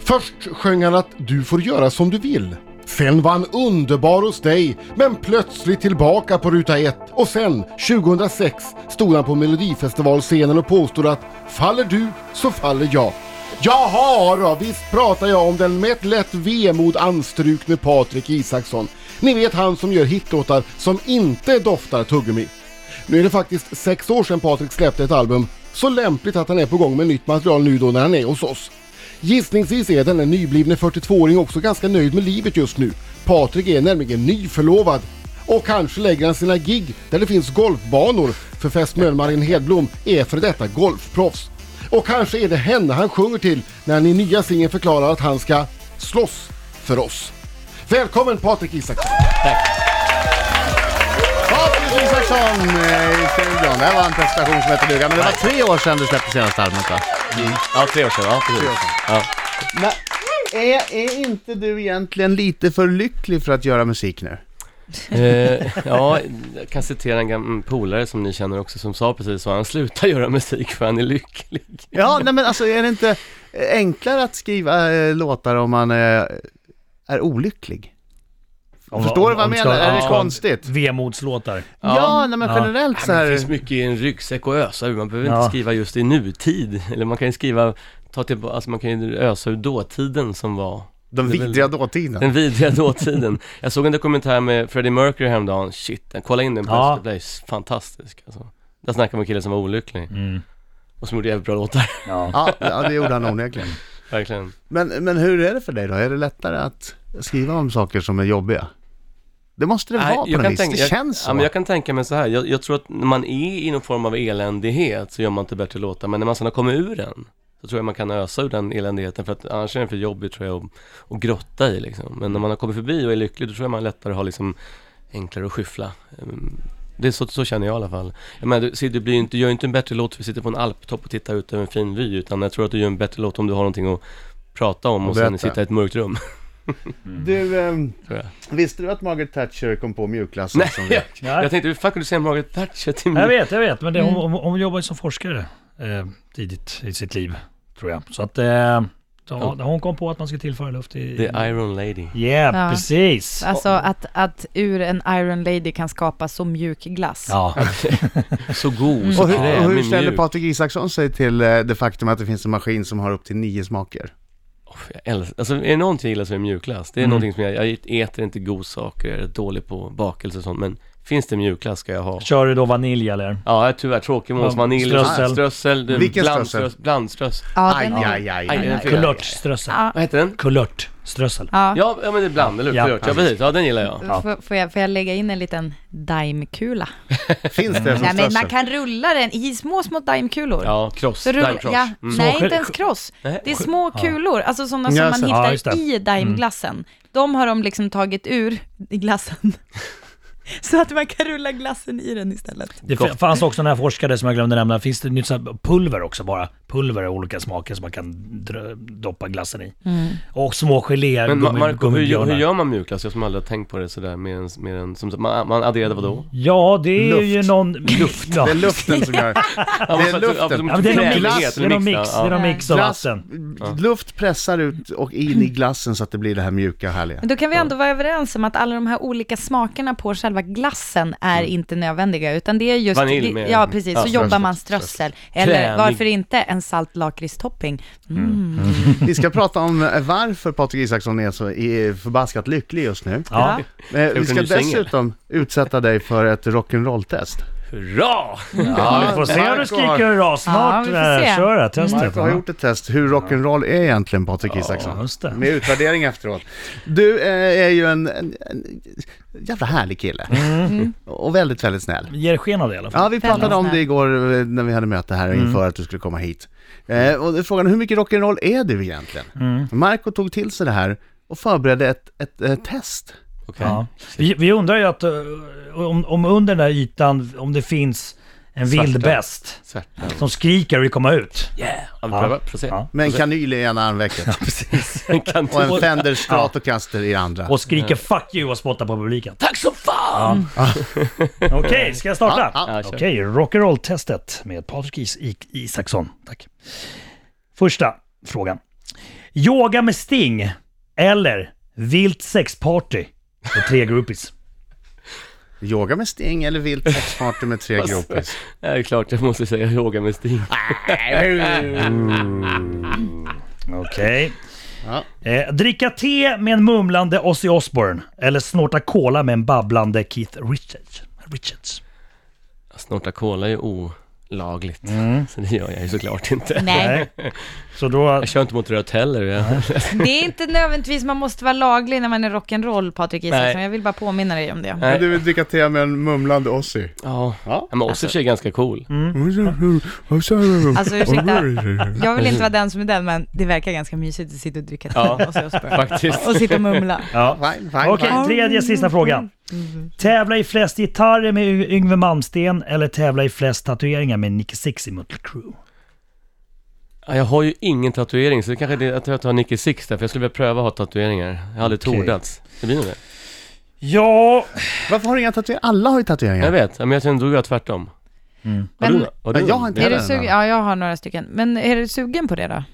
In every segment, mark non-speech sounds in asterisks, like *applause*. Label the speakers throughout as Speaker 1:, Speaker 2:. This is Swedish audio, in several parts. Speaker 1: Först sjöng han att du får göra som du vill. Sen var han underbar hos dig, men plötsligt tillbaka på ruta ett. Och sen, 2006, stod han på Melodifestivalscenen och påstod att faller du så faller jag. Jaha då, visst pratar jag om den med ett lätt vemod anstrukne Patrik Isaksson. Ni vet han som gör hitlåtar som inte doftar tuggummi. Nu är det faktiskt sex år sedan Patrik släppte ett album, så lämpligt att han är på gång med nytt material nu då när han är hos oss. Gissningsvis är denne nyblivne 42-åring också ganska nöjd med livet just nu. Patrik är nämligen nyförlovad. Och kanske lägger han sina gig där det finns golfbanor, för fästmön Marin Hedblom är för detta golfproffs. Och kanske är det henne han sjunger till när han i nya singeln förklarar att han ska slåss för oss. Välkommen Patrik Isaksson!
Speaker 2: Patrik Isaksson eh, i studion. Det här var en prestation som hette duga. Men det var tre år sedan du släppte senaste albumet va? Ja, tre år sedan. Mm. Ja, precis. Ja. Men är, är inte du egentligen lite för lycklig för att göra musik nu?
Speaker 3: Eh, ja, jag kan citera en gammal polare som ni känner också som sa precis så. Han slutar göra musik för han är lycklig.
Speaker 2: Ja, nej men alltså är det inte enklare att skriva eh, låtar om man eh, är olycklig?
Speaker 4: Om-
Speaker 2: Förstår du vad jag
Speaker 4: om- om
Speaker 2: menar?
Speaker 4: ska-
Speaker 2: Är det
Speaker 4: ja.
Speaker 2: konstigt?
Speaker 4: Vemodslåtar.
Speaker 2: Ja, nej men
Speaker 4: Ja.
Speaker 2: generellt så
Speaker 3: Men det
Speaker 2: här...
Speaker 3: finns mycket i en ryggsäck att ösa ur. Man behöver
Speaker 4: Ja.
Speaker 3: inte skriva just i nutid. Eller man kan ju skriva, ta till, alltså man kan ju ösa ur dåtiden som var.
Speaker 2: De
Speaker 3: Det är väl- Mm.
Speaker 2: vidriga dåtiden.
Speaker 3: Den vidriga dåtiden.
Speaker 2: *laughs*
Speaker 3: Jag såg en dokumentär med Freddie Mercury häromdagen. Shit, den- kolla in den på
Speaker 4: Ja.
Speaker 3: SVT Play. S- Fantastisk alltså. Där snackar man om en kille som var olycklig.
Speaker 4: Mm.
Speaker 3: Och som gjorde jävligt bra låtar. *laughs*
Speaker 4: Ja.
Speaker 2: Ja, ja, det gjorde han onekligen.
Speaker 3: Verkligen.
Speaker 2: Men, men hur är det för dig då? Är det lättare att skriva om saker som är jobbiga? Det måste det
Speaker 3: Nej,
Speaker 2: vara på
Speaker 3: jag
Speaker 2: något
Speaker 3: kan
Speaker 2: vis,
Speaker 3: tänka-
Speaker 2: det
Speaker 3: jag-
Speaker 2: känns så.
Speaker 3: Ja, men jag kan tänka mig så här. Jag, jag tror att när man är i någon form av eländighet så gör man inte bättre låtar. Men när man sedan har kommit ur den så tror jag man kan ösa ur den eländigheten. För att annars är den för jobbig tror jag att, att grotta i liksom. Men när man har kommit förbi och är lycklig då tror jag man lättare har liksom enklare att skyffla. Ehm, Det är så, så känner jag i alla fall. Jag menar, du, se, du, blir ju inte, gör ju inte en bättre låt för att sitta på en alptopp och titta ut över en fin vy. Utan jag tror att du gör en bättre låt om du har någonting att prata om och sen
Speaker 2: Berätta.
Speaker 3: sitta i ett mörkt rum.
Speaker 2: Du, ehm,
Speaker 3: Tror jag.
Speaker 2: visste du att Margaret Thatcher kom på mjukglassen
Speaker 3: Nej,
Speaker 2: som
Speaker 3: *laughs* jag,
Speaker 2: det?
Speaker 4: Ja.
Speaker 3: jag Mm. tänkte hur fan kunde du säga Margaret Thatcher till mig?
Speaker 4: Jag vet, jag vet. Men det, hon, hon, hon jobbar ju som forskare eh, tidigt i sitt liv, tror jag. Så att eh, då, hon kom på att man skulle tillföra luft i...
Speaker 3: The Iron Lady.
Speaker 4: Yeah,
Speaker 5: Ja.
Speaker 4: precis.
Speaker 5: Alltså att, att ur en Iron Lady kan skapa så mjuk glass.
Speaker 4: Ja.
Speaker 3: Så god,
Speaker 4: Mm.
Speaker 3: så
Speaker 2: Och hur,
Speaker 3: krämig,
Speaker 2: och hur ställer
Speaker 3: mjuk.
Speaker 2: Patrik Isaksson sig till eh, det faktum att det finns en maskin som har upp till nio smaker?
Speaker 3: Uff, jag älskar, alltså är det någonting jag gillar så är det mjukglass. Det är
Speaker 4: Mm.
Speaker 3: någonting som jag, jag äter inte godsaker, jag är rätt dålig på bakelse och sånt, men finns det mjukglass ska jag ha.
Speaker 4: Kör du då vanilj eller?
Speaker 3: Ja, jag är tyvärr tråkig med oss.
Speaker 4: Ja,
Speaker 3: Vanilj,
Speaker 4: strössel.
Speaker 3: strössel, strössel det-
Speaker 2: Vilken
Speaker 3: blandströs-
Speaker 2: strössel?
Speaker 3: Blandströssel.
Speaker 5: Ja,
Speaker 2: Aj,
Speaker 5: den
Speaker 2: aj,
Speaker 5: är-
Speaker 2: aj, aj,
Speaker 3: Aj,
Speaker 2: aj,
Speaker 3: den är
Speaker 2: aj.
Speaker 3: fel.
Speaker 4: Kulörtströssel.
Speaker 5: Ja,
Speaker 3: Vad heter den?
Speaker 4: Kulörtströssel.
Speaker 5: ja.
Speaker 3: Ja, ja men det är bland, eller hur?
Speaker 4: Ja, Mm.
Speaker 3: Kulört. Ja,
Speaker 4: precis.
Speaker 3: precis. Ja, den gillar jag.
Speaker 4: Ja.
Speaker 5: Får, får, jag, får jag lägga in en liten daimkula?
Speaker 2: Finns det som
Speaker 5: Nej, men man
Speaker 2: strössel?
Speaker 5: kan rulla den i små, små daimkulor.
Speaker 3: Ja, cross.
Speaker 5: Så rull,
Speaker 3: Daimkross.
Speaker 5: ja,
Speaker 3: Mm.
Speaker 5: Nej,
Speaker 4: Små-
Speaker 5: inte ens cross.
Speaker 3: Nej.
Speaker 5: Det är små kulor, alltså sådana
Speaker 2: Ja,
Speaker 5: som man
Speaker 2: så-
Speaker 4: ja, just
Speaker 5: hittar
Speaker 4: det.
Speaker 5: i daimglassen. De har de liksom tagit ur *laughs* i glassen. Så att man kan rulla glassen i den istället.
Speaker 4: Det
Speaker 3: Gott.
Speaker 4: fanns också den här forskare som jag glömde nämna. Finns det nytt så här pulver också bara? Pulver av olika smaker som man kan dra, doppa glassen i.
Speaker 5: Mm.
Speaker 4: Och små geléer,
Speaker 3: Men Ma-
Speaker 4: gummi-
Speaker 3: Marco, hur, gör-
Speaker 4: gummibjörnar.
Speaker 3: hur gör man mjukglass? Jag som aldrig har tänkt på det sådär med en, med en som, man, man adderade vadå?
Speaker 4: Ja, det är
Speaker 2: Luft.
Speaker 4: ju någon... Luft. Ja.
Speaker 2: Det är luften som
Speaker 5: *laughs*
Speaker 2: gör...
Speaker 3: Ja, typ
Speaker 2: Det är
Speaker 3: så att
Speaker 2: luften.
Speaker 3: du- ja, du
Speaker 4: Ja,
Speaker 3: måste
Speaker 4: men det är någon
Speaker 3: krämighet,
Speaker 4: mix, det är någon mix, det är någon
Speaker 5: Ja.
Speaker 4: mix av
Speaker 2: Glass,
Speaker 4: vatten.
Speaker 2: luft pressar ut och in i glassen så att det blir det här mjuka härliga.
Speaker 5: *laughs* Men då kan vi ändå vara överens om att alla de här olika smakerna på själva glassen är inte nödvändiga, utan det är just...
Speaker 3: Mm. Vanilj
Speaker 5: det-
Speaker 3: med-
Speaker 5: Ja, precis.
Speaker 3: ja,
Speaker 5: så jobbar man strössel. Eller
Speaker 3: Krämig.
Speaker 5: varför inte en salt lakritstopping? Mm.
Speaker 2: Vi ska prata om eh, varför Patrik Isaksson är så eh, förbaskat lycklig just nu.
Speaker 4: Ja.
Speaker 2: Eh, vi
Speaker 3: en
Speaker 2: ska
Speaker 3: ny singel.
Speaker 2: dessutom utsätta dig för ett rock'n'roll-test.
Speaker 3: Hurra!
Speaker 4: ja, vi får se om du
Speaker 2: Marco
Speaker 4: skriker
Speaker 2: har-
Speaker 4: hurra
Speaker 5: Ja,
Speaker 4: snart.
Speaker 5: vi får se.
Speaker 4: eh, Kör det, testet.
Speaker 2: Marco har
Speaker 4: va?
Speaker 2: gjort ett test hur rock'n'roll är egentligen Patrik
Speaker 4: Ja,
Speaker 2: Isaksson.
Speaker 4: just det.
Speaker 2: Med utvärdering efteråt. Du eh, är ju en, en, en jävla härlig kille.
Speaker 4: Mm.
Speaker 2: Och väldigt, väldigt snäll.
Speaker 4: Ger sken av det i alla fall.
Speaker 2: Ja, vi pratade
Speaker 5: Väldigt
Speaker 2: om det
Speaker 5: snäll.
Speaker 2: igår eh, när vi hade möte här
Speaker 4: Mm.
Speaker 2: inför att du skulle komma hit. Eh, och frågan är, hur mycket rock'n'roll är du egentligen?
Speaker 4: Mm.
Speaker 2: Marco tog till sig det här och förberedde ett, ett, eh, test.
Speaker 3: Okej.
Speaker 4: Ja. Vi, vi undrar ju att eh, om, om under den där ytan, om det finns en
Speaker 3: Svarta.
Speaker 4: vild bäst
Speaker 3: Svärta.
Speaker 4: som skriker och vill komma ut.
Speaker 3: Yeah! Ja, vi
Speaker 4: Ja.
Speaker 3: prövar. Får se. *laughs*
Speaker 4: Ja.
Speaker 2: Med en kanyl i ena armvecket
Speaker 3: Precis. En kantin.
Speaker 2: och en Fender Stratocaster i andra.
Speaker 4: Och skriker 'fuck you' och spottar på publiken.
Speaker 3: Tack så fan!
Speaker 4: *laughs* Okej, ska jag starta?
Speaker 2: Ja,
Speaker 3: Ja, kör.
Speaker 4: Okej, rock'n'roll-testet med Patrik Is- I- Isaksson. Tack. Första frågan. Yoga med Sting eller vilt sexparty med tre groupies.
Speaker 2: Yoga med Sting eller vilt sexparty med tre groupies?
Speaker 3: Ja, det är klart jag måste säga yoga med Sting.
Speaker 4: Okej.
Speaker 2: Ja.
Speaker 4: Eh, dricka te med en mumlande Ozzy Osbourne eller snorta cola med en babblande Keith Richards. Richards.
Speaker 3: Snorta cola är ju olagligt.
Speaker 2: Mm.
Speaker 3: Så det gör jag ju såklart inte.
Speaker 5: *laughs* Nej,
Speaker 4: Så
Speaker 3: *laughs*
Speaker 4: då...
Speaker 3: Jag kör inte mot rött heller. Jag.
Speaker 5: det är inte nödvändigtvis man måste vara laglig när man är rock'n'roll, Patrik Isaksson.
Speaker 3: Nej.
Speaker 5: Jag vill bara påminna dig om det.
Speaker 3: Nej.
Speaker 2: Du vill dricka te med en mumlande Ozzy?
Speaker 3: Ja.
Speaker 2: Ja. Mm.
Speaker 3: Men Ozzy är ganska cool. Mm.
Speaker 5: Alltså *laughs* ursäkta, jag vill inte vara den som är den, men det verkar ganska mysigt att sitta och dricka te
Speaker 3: Ja.
Speaker 5: och, se oss börja.
Speaker 3: Faktiskt.
Speaker 5: och sitta och mumla.
Speaker 4: Ja.
Speaker 2: Fine, fine,
Speaker 4: Okej,
Speaker 2: fine.
Speaker 4: tredje sista frågan.
Speaker 5: Mm-hmm.
Speaker 4: Tävla i flest gitarrer med Y- Yngwie Malmsteen eller tävla i flest tatueringar med Nicky Six i Mötley Crüe?
Speaker 3: Ja, Jag har ju ingen tatuering, så det kanske är det att jag tar Nicky Six där, för jag skulle vilja pröva att ha tatueringar. Jag har aldrig
Speaker 4: Okej.
Speaker 3: tordats. Det blir nog det.
Speaker 4: Ja,
Speaker 2: Varför har du inga tatueringar? Alla har ju tatueringar.
Speaker 3: Jag vet, ja, men jag tror du gör tvärtom. Har
Speaker 5: Men-
Speaker 3: du, har du
Speaker 2: Nej, jag har inte
Speaker 5: Är
Speaker 2: heller
Speaker 5: du
Speaker 2: en
Speaker 5: sugen?
Speaker 2: annan.
Speaker 5: Ja, jag har några stycken. Men är du sugen på det då?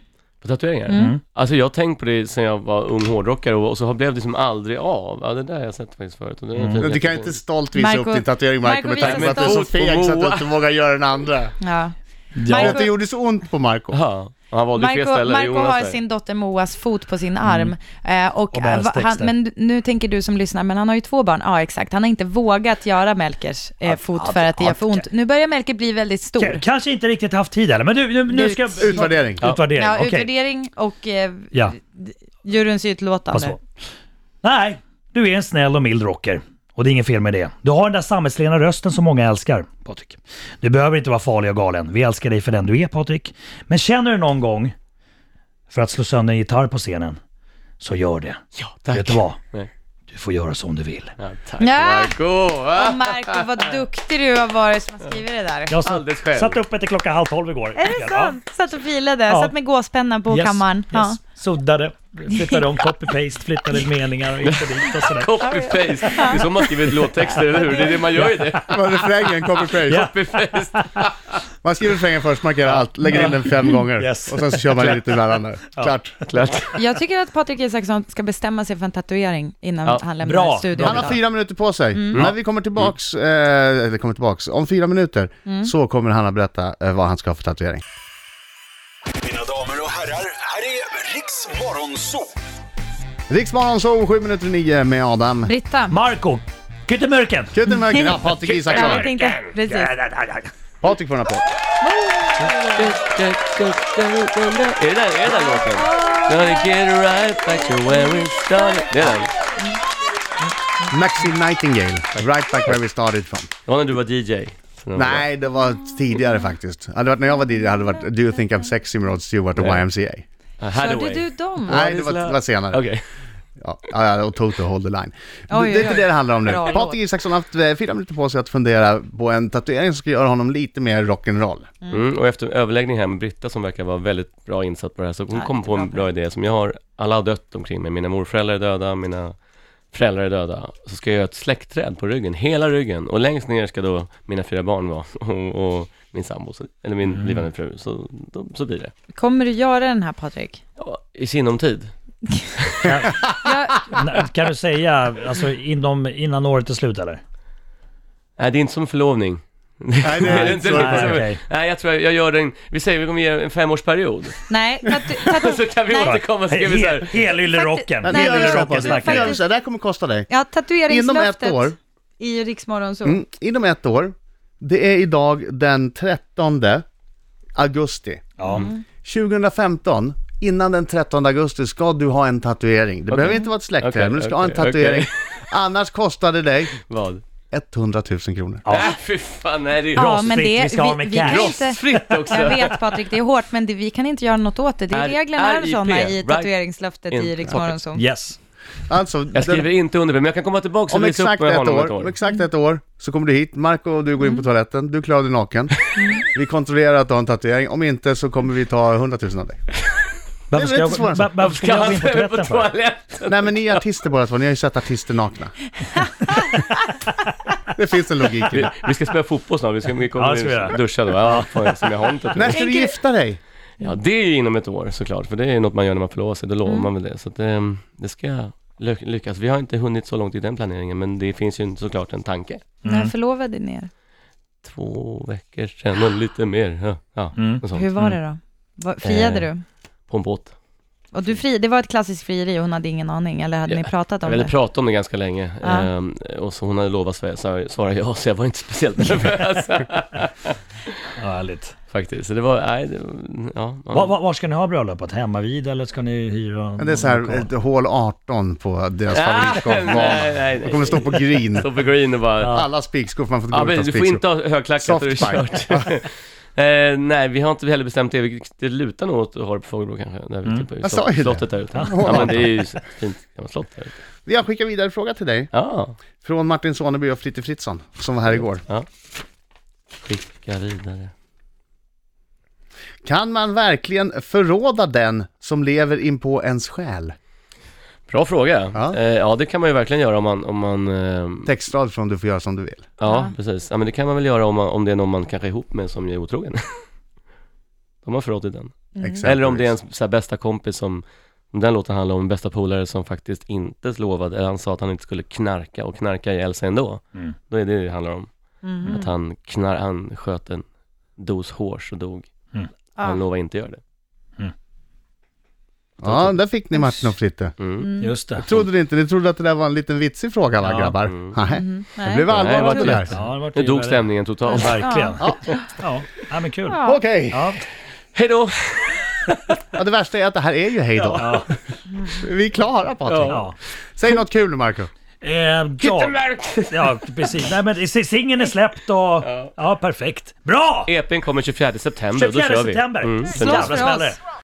Speaker 3: På tatueringar?
Speaker 5: Mm.
Speaker 3: Alltså jag har tänkt på det sen jag var ung hårdrockare och, och så har- blev det som aldrig av. Ja, det där har jag sett faktiskt förut. Och det är en fin
Speaker 2: Mm. Men Du kan
Speaker 3: jättefin.
Speaker 2: inte stolt visa
Speaker 5: Marco-
Speaker 2: upp din tatuering Marco
Speaker 5: Marco
Speaker 2: med tanke på
Speaker 5: visar
Speaker 2: att du är så
Speaker 3: stolt.
Speaker 2: feg så att du inte vågar göra den andra.
Speaker 5: Ja.
Speaker 2: Jag vet
Speaker 5: Marco-
Speaker 2: att det gjorde så ont på Marco.
Speaker 3: Jaha, han valde ju fel
Speaker 5: Marco,
Speaker 3: ställe.
Speaker 5: Marco
Speaker 3: Jonas
Speaker 5: har
Speaker 3: där. Mm.
Speaker 5: sin dotter Moas fot på sin arm. Eh, och,
Speaker 4: Och bärstexter.
Speaker 5: han, men nu tänker du som lyssnar, men han har ju två barn. Ja, exakt. Han har inte vågat göra Melkers eh, fot för att det gör för ont. Nu börjar Melker bli väldigt
Speaker 4: k-
Speaker 5: stor.
Speaker 4: kanske inte riktigt haft tid heller, men du, nu, nu ska...
Speaker 2: Utvärdering.
Speaker 4: Utvärdering,
Speaker 5: Ja,
Speaker 4: okej.
Speaker 5: utvärdering och eh,
Speaker 4: Ja,
Speaker 5: juryns utlåtande.
Speaker 4: pass på. Nej, du är en snäll och mild rocker. Och det är inget fel med det. Du har den där sammetslena rösten som många älskar, Patrik. Du behöver inte vara farlig och galen. Vi älskar dig för den du är, Patrik. Men känner du någon gång för att slå sönder en gitarr på scenen, så gör det.
Speaker 3: Ja, tack.
Speaker 4: Vet du vad?
Speaker 3: Nej.
Speaker 4: Du får göra som du vill.
Speaker 3: Ja, tack
Speaker 5: Ja.
Speaker 3: Marco!
Speaker 5: Och Marco, vad duktig du har varit som har skrivit det där.
Speaker 4: Jag satt,
Speaker 3: Alldeles själv.
Speaker 4: satt uppe till klockan halv tolv igår.
Speaker 5: Är det sant? Satt och filade,
Speaker 4: Ja.
Speaker 5: satt med gåspennan på kammaren. Ja.
Speaker 4: Yes. Suddade, flyttade
Speaker 5: *laughs*
Speaker 4: om copy-paste, flyttade meningar och hit och dit och sådär.
Speaker 3: Copy-paste! Det är så man skriver låttexter, eller hur? Det är det man gör i det.
Speaker 2: Vad är Refrängen, copy-paste.
Speaker 4: Ja.
Speaker 3: Copy-paste!
Speaker 2: Man skriver refrängen först, markerar allt, lägger in den fem gånger
Speaker 4: Yes.
Speaker 2: och sen så kör man lite emellan där. Klart.
Speaker 3: Klart.
Speaker 5: Jag tycker att Patrik Isaksson ska bestämma sig för en tatuering innan
Speaker 3: Ja,
Speaker 5: han lämnar
Speaker 4: bra.
Speaker 5: studion.
Speaker 2: Han har
Speaker 5: idag.
Speaker 2: fyra minuter på sig.
Speaker 5: Mm.
Speaker 2: När vi kommer tillbaks, eh, eller kommer tillbaks, om fyra minuter
Speaker 5: Mm.
Speaker 2: så kommer han att berätta eh, vad han ska ha för tatuering.
Speaker 6: Mina damer och herrar, här är Riks Morgonzoo!
Speaker 2: Riksmorgon så sju minuter i nio med Adam.
Speaker 5: Britta.
Speaker 4: Marco, Kyttemörken!
Speaker 2: Kutten mörker,
Speaker 5: *laughs*
Speaker 2: ja, Patrik
Speaker 5: Ja, jag
Speaker 2: Isaksson.
Speaker 5: tänkte, precis.
Speaker 2: Patrik får en applåd.
Speaker 3: Är det den, är det den låten? Gonna get it right back to where we started. Det är den.
Speaker 2: Maxi Nightingale, right back where we started from.
Speaker 3: Det var när du var DJ. Så det var bra.
Speaker 2: Nej, det var tidigare faktiskt. Hade det varit när jag var DJ hade det varit Do you think I'm sexy med Rod Stewart och
Speaker 3: Nej.
Speaker 2: YMCA.
Speaker 3: Ah,
Speaker 5: Körde
Speaker 3: Hathaway.
Speaker 5: du dem?
Speaker 2: Nej, det var, det var senare.
Speaker 3: Okej.
Speaker 2: Ja, ja, och Toto Hold the Line.
Speaker 5: Oj,
Speaker 2: det, det är
Speaker 5: oj,
Speaker 2: inte
Speaker 5: oj.
Speaker 2: det det handlar om nu.
Speaker 5: Bra
Speaker 2: Patrik
Speaker 5: låt.
Speaker 2: Isaksson har haft eh, fyra minuter på sig att fundera på en tatuering som ska göra honom lite mer rock'n'roll.
Speaker 3: Mm, och efter överläggning här med Britta som verkar vara väldigt bra insatt på det här, så hon
Speaker 5: Ja,
Speaker 3: kom på en
Speaker 5: jättebra.
Speaker 3: bra idé som jag har, alla har dött omkring mig, mina morföräldrar är döda, mina föräldrar är döda. Så ska jag göra ett släktträd på ryggen, hela ryggen, och längst ner ska då mina fyra barn vara, *laughs* och, och min sambo, så- eller min blivande fru, så, då, så blir det.
Speaker 5: Kommer du göra den här Patrik?
Speaker 3: Ja, I sinom tid.
Speaker 4: Nej, Kan du säga, alltså inom, innan året är slut eller?
Speaker 3: Nej, det är inte som förlovning.
Speaker 2: Nej, det är inte så.
Speaker 3: som-
Speaker 4: Nej, okej.
Speaker 3: Nej, jag tror jag, jag gör den, vi säger vi kommer ge en femårsperiod, *laughs*
Speaker 5: Nej, tatu, tatu,
Speaker 3: så kan vi
Speaker 5: nej.
Speaker 3: återkomma, så ska vi så här,
Speaker 4: Helyllerocken!
Speaker 5: Faktiskt- Nej,
Speaker 2: vi gör
Speaker 5: men-
Speaker 2: så här,
Speaker 4: Helyllerocken
Speaker 2: Patrik.
Speaker 4: snackar
Speaker 2: Vi gör
Speaker 4: vi.
Speaker 5: faktiskt-
Speaker 2: så här, Det här kommer kosta dig.
Speaker 5: Ja,
Speaker 2: Inom ett
Speaker 5: tatueringslöftet
Speaker 2: år.
Speaker 5: i Riksmorgon så.
Speaker 2: Mm, inom ett år. Det är idag den 13 augusti.
Speaker 4: Ja.
Speaker 2: 2015, innan den 13 augusti, ska du ha en tatuering. Det behöver inte vara ett släktträd,
Speaker 3: Okej,
Speaker 2: men du ska ha en
Speaker 3: okej,
Speaker 2: tatuering. Annars kostar det dig
Speaker 3: vad?
Speaker 2: 100 000 kronor.
Speaker 3: Nej, fy fan, nej det är
Speaker 5: Ja,
Speaker 4: Rostfritt, vi ska ha med
Speaker 5: kan
Speaker 4: cash.
Speaker 5: inte,
Speaker 3: rostfritt också.
Speaker 5: Jag vet Patrik, det är hårt, men det, vi kan inte göra något åt det. Det är
Speaker 3: R-
Speaker 5: reglerna är
Speaker 3: RIP,
Speaker 5: sådana i
Speaker 3: right
Speaker 5: tatueringslöftet
Speaker 3: in
Speaker 5: i Riksmorgon
Speaker 3: pocket.
Speaker 5: så.
Speaker 4: Yes.
Speaker 2: Alltså,
Speaker 3: Jag
Speaker 2: den-
Speaker 3: skriver inte under, men jag kan komma tillbaka och
Speaker 2: Om
Speaker 3: visa upp
Speaker 2: exakt, ett
Speaker 3: med honom
Speaker 2: år,
Speaker 3: ett
Speaker 2: om
Speaker 3: år.
Speaker 2: exakt ett år så kommer du hit, Marco och du går in på toaletten, du klarar dig naken. Vi kontrollerar att du har en tatuering, om inte så kommer vi ta 100 000 av dig.
Speaker 4: Varför ska
Speaker 2: inte
Speaker 4: jag,
Speaker 2: svårare än så.
Speaker 4: va- varför ska
Speaker 3: Kan
Speaker 4: jag gå
Speaker 3: han
Speaker 4: in på
Speaker 3: ställa på
Speaker 4: toaletten för?
Speaker 3: toaletten?
Speaker 2: Nej men ni är artister båda två, ni har ju sett artister nakna. Det finns en logik i
Speaker 3: Vi,
Speaker 2: det.
Speaker 3: vi ska spela fotboll snart, vi ska vi
Speaker 4: Ja,
Speaker 3: kommer
Speaker 4: det ska vi göra.
Speaker 3: duscha då. Ja, fan, som jag har inte.
Speaker 2: När ska du gifta dig?
Speaker 3: Ja, det är ju inom ett år såklart, för det är något man gör när man förlorar sig, då lovar man väl det. Så att, eh, det ska ly- lyckas. Vi har inte hunnit så långt i den planeringen, men det finns ju inte såklart en tanke.
Speaker 4: Mm.
Speaker 5: När förlovade ni er?
Speaker 3: Två veckor sedan och lite mer. Ja, ja
Speaker 4: Mm.
Speaker 3: och sånt.
Speaker 5: Hur var det då? Vad- Friade du?
Speaker 3: På en båt.
Speaker 5: Och du fri, det var ett klassiskt frieri och hon hade ingen aning, eller hade
Speaker 3: Ja,
Speaker 5: ni pratat
Speaker 3: Jag
Speaker 5: om
Speaker 3: ville
Speaker 5: det?
Speaker 3: prata om det ganska länge
Speaker 5: Ja.
Speaker 3: ehm, och så hon hade lovat sva- sa- svara ja, så jag var inte speciellt nervös
Speaker 4: Ja, härligt.
Speaker 3: faktiskt. Så det var, nej, det, ja. ja.
Speaker 4: Var, var, var ska ni ha bröllopet? Hemma vid eller ska ni hyra?
Speaker 2: Men det är så här,
Speaker 4: Mm.
Speaker 2: ett hål 18 på deras
Speaker 3: Ah. *laughs* nej,
Speaker 2: favoritgolfbana.
Speaker 3: nej,
Speaker 2: De kommer stå på green.
Speaker 3: Stå på green och bara, ja,
Speaker 2: Alla spikskor, för man får inte gå
Speaker 3: men
Speaker 2: utan
Speaker 3: du får
Speaker 2: spikskor.
Speaker 3: inte ha högklackat för det är
Speaker 2: Softbike.
Speaker 3: kört. *laughs* Eh, nej, vi har inte heller bestämt det. Vi- Det lutar nog åt Hårby Fågelbo kanske, där vi typ
Speaker 4: Mm.
Speaker 3: tittar på
Speaker 2: Jag sa ju det.
Speaker 3: slottet där ute. Ja, men det är ju ett fint gammalt slott där ute.
Speaker 2: Jag skickar vidare en fråga till dig.
Speaker 3: Ja,
Speaker 2: Från Martin Soneby och Fritte Fritzson, som var här igår.
Speaker 3: skicka vidare.
Speaker 2: Kan man verkligen förråda den som lever in på ens själ?
Speaker 3: Bra fråga.
Speaker 2: Ja.
Speaker 3: Ja. ja, det kan man ju verkligen göra om man, om man ehm,
Speaker 2: Textrad från Du får göra som du vill.
Speaker 3: Ja,
Speaker 5: Ja.
Speaker 3: precis. Ja, men det kan man väl göra om, man, om det är någon man kanske är ihop med som är otrogen. *laughs* De har förrått i den.
Speaker 5: Mm.
Speaker 2: Exempelvis.
Speaker 3: Eller om det är ens så här, bästa kompis som, om den låten handlar om en bästa polare som faktiskt inte lovade, eller han sa att han inte skulle knarka och knarka ihjäl sig ändå.
Speaker 4: Mm.
Speaker 3: Då är det det handlar om.
Speaker 5: Mhm.
Speaker 3: Att han, knar, han sköt en dos hårs och dog. Han
Speaker 5: Ja.
Speaker 3: lovade inte göra det.
Speaker 2: Ja, där fick ni Martin och Fritte.
Speaker 3: Mm.
Speaker 5: Mm.
Speaker 4: Just det.
Speaker 2: Trodde ni inte? Ni trodde att det där var en liten vitsig fråga va
Speaker 4: Ja.
Speaker 2: grabbar?
Speaker 3: Mm.
Speaker 2: Nej.
Speaker 5: Mhm.
Speaker 2: Det blev allvarligt
Speaker 3: Nej,
Speaker 2: det
Speaker 3: det var
Speaker 2: där.
Speaker 3: inte
Speaker 4: Ja, det vart
Speaker 3: Nu
Speaker 4: ju-
Speaker 3: dog stämningen totalt.
Speaker 4: *laughs* Verkligen.
Speaker 2: Ja.
Speaker 4: Ja, ja. men kul. Ja.
Speaker 5: Ja.
Speaker 2: Okej,
Speaker 4: Ja.
Speaker 3: Hej då!
Speaker 2: ja, det värsta är att det här är ju hej då.
Speaker 4: Ja.
Speaker 2: Vi är klara Patrik.
Speaker 4: Ja.
Speaker 2: Säg något kul Marco.
Speaker 4: Eh, ja. ja, precis. Nej, men s- singeln är släppt och... Ja, perfekt. Bra!
Speaker 3: EPn E kommer 24 september,
Speaker 4: 24
Speaker 3: då kör vi.
Speaker 4: september.
Speaker 3: Mm.
Speaker 4: Så jävla
Speaker 5: Slåss för
Speaker 4: smäller
Speaker 5: oss.
Speaker 4: det.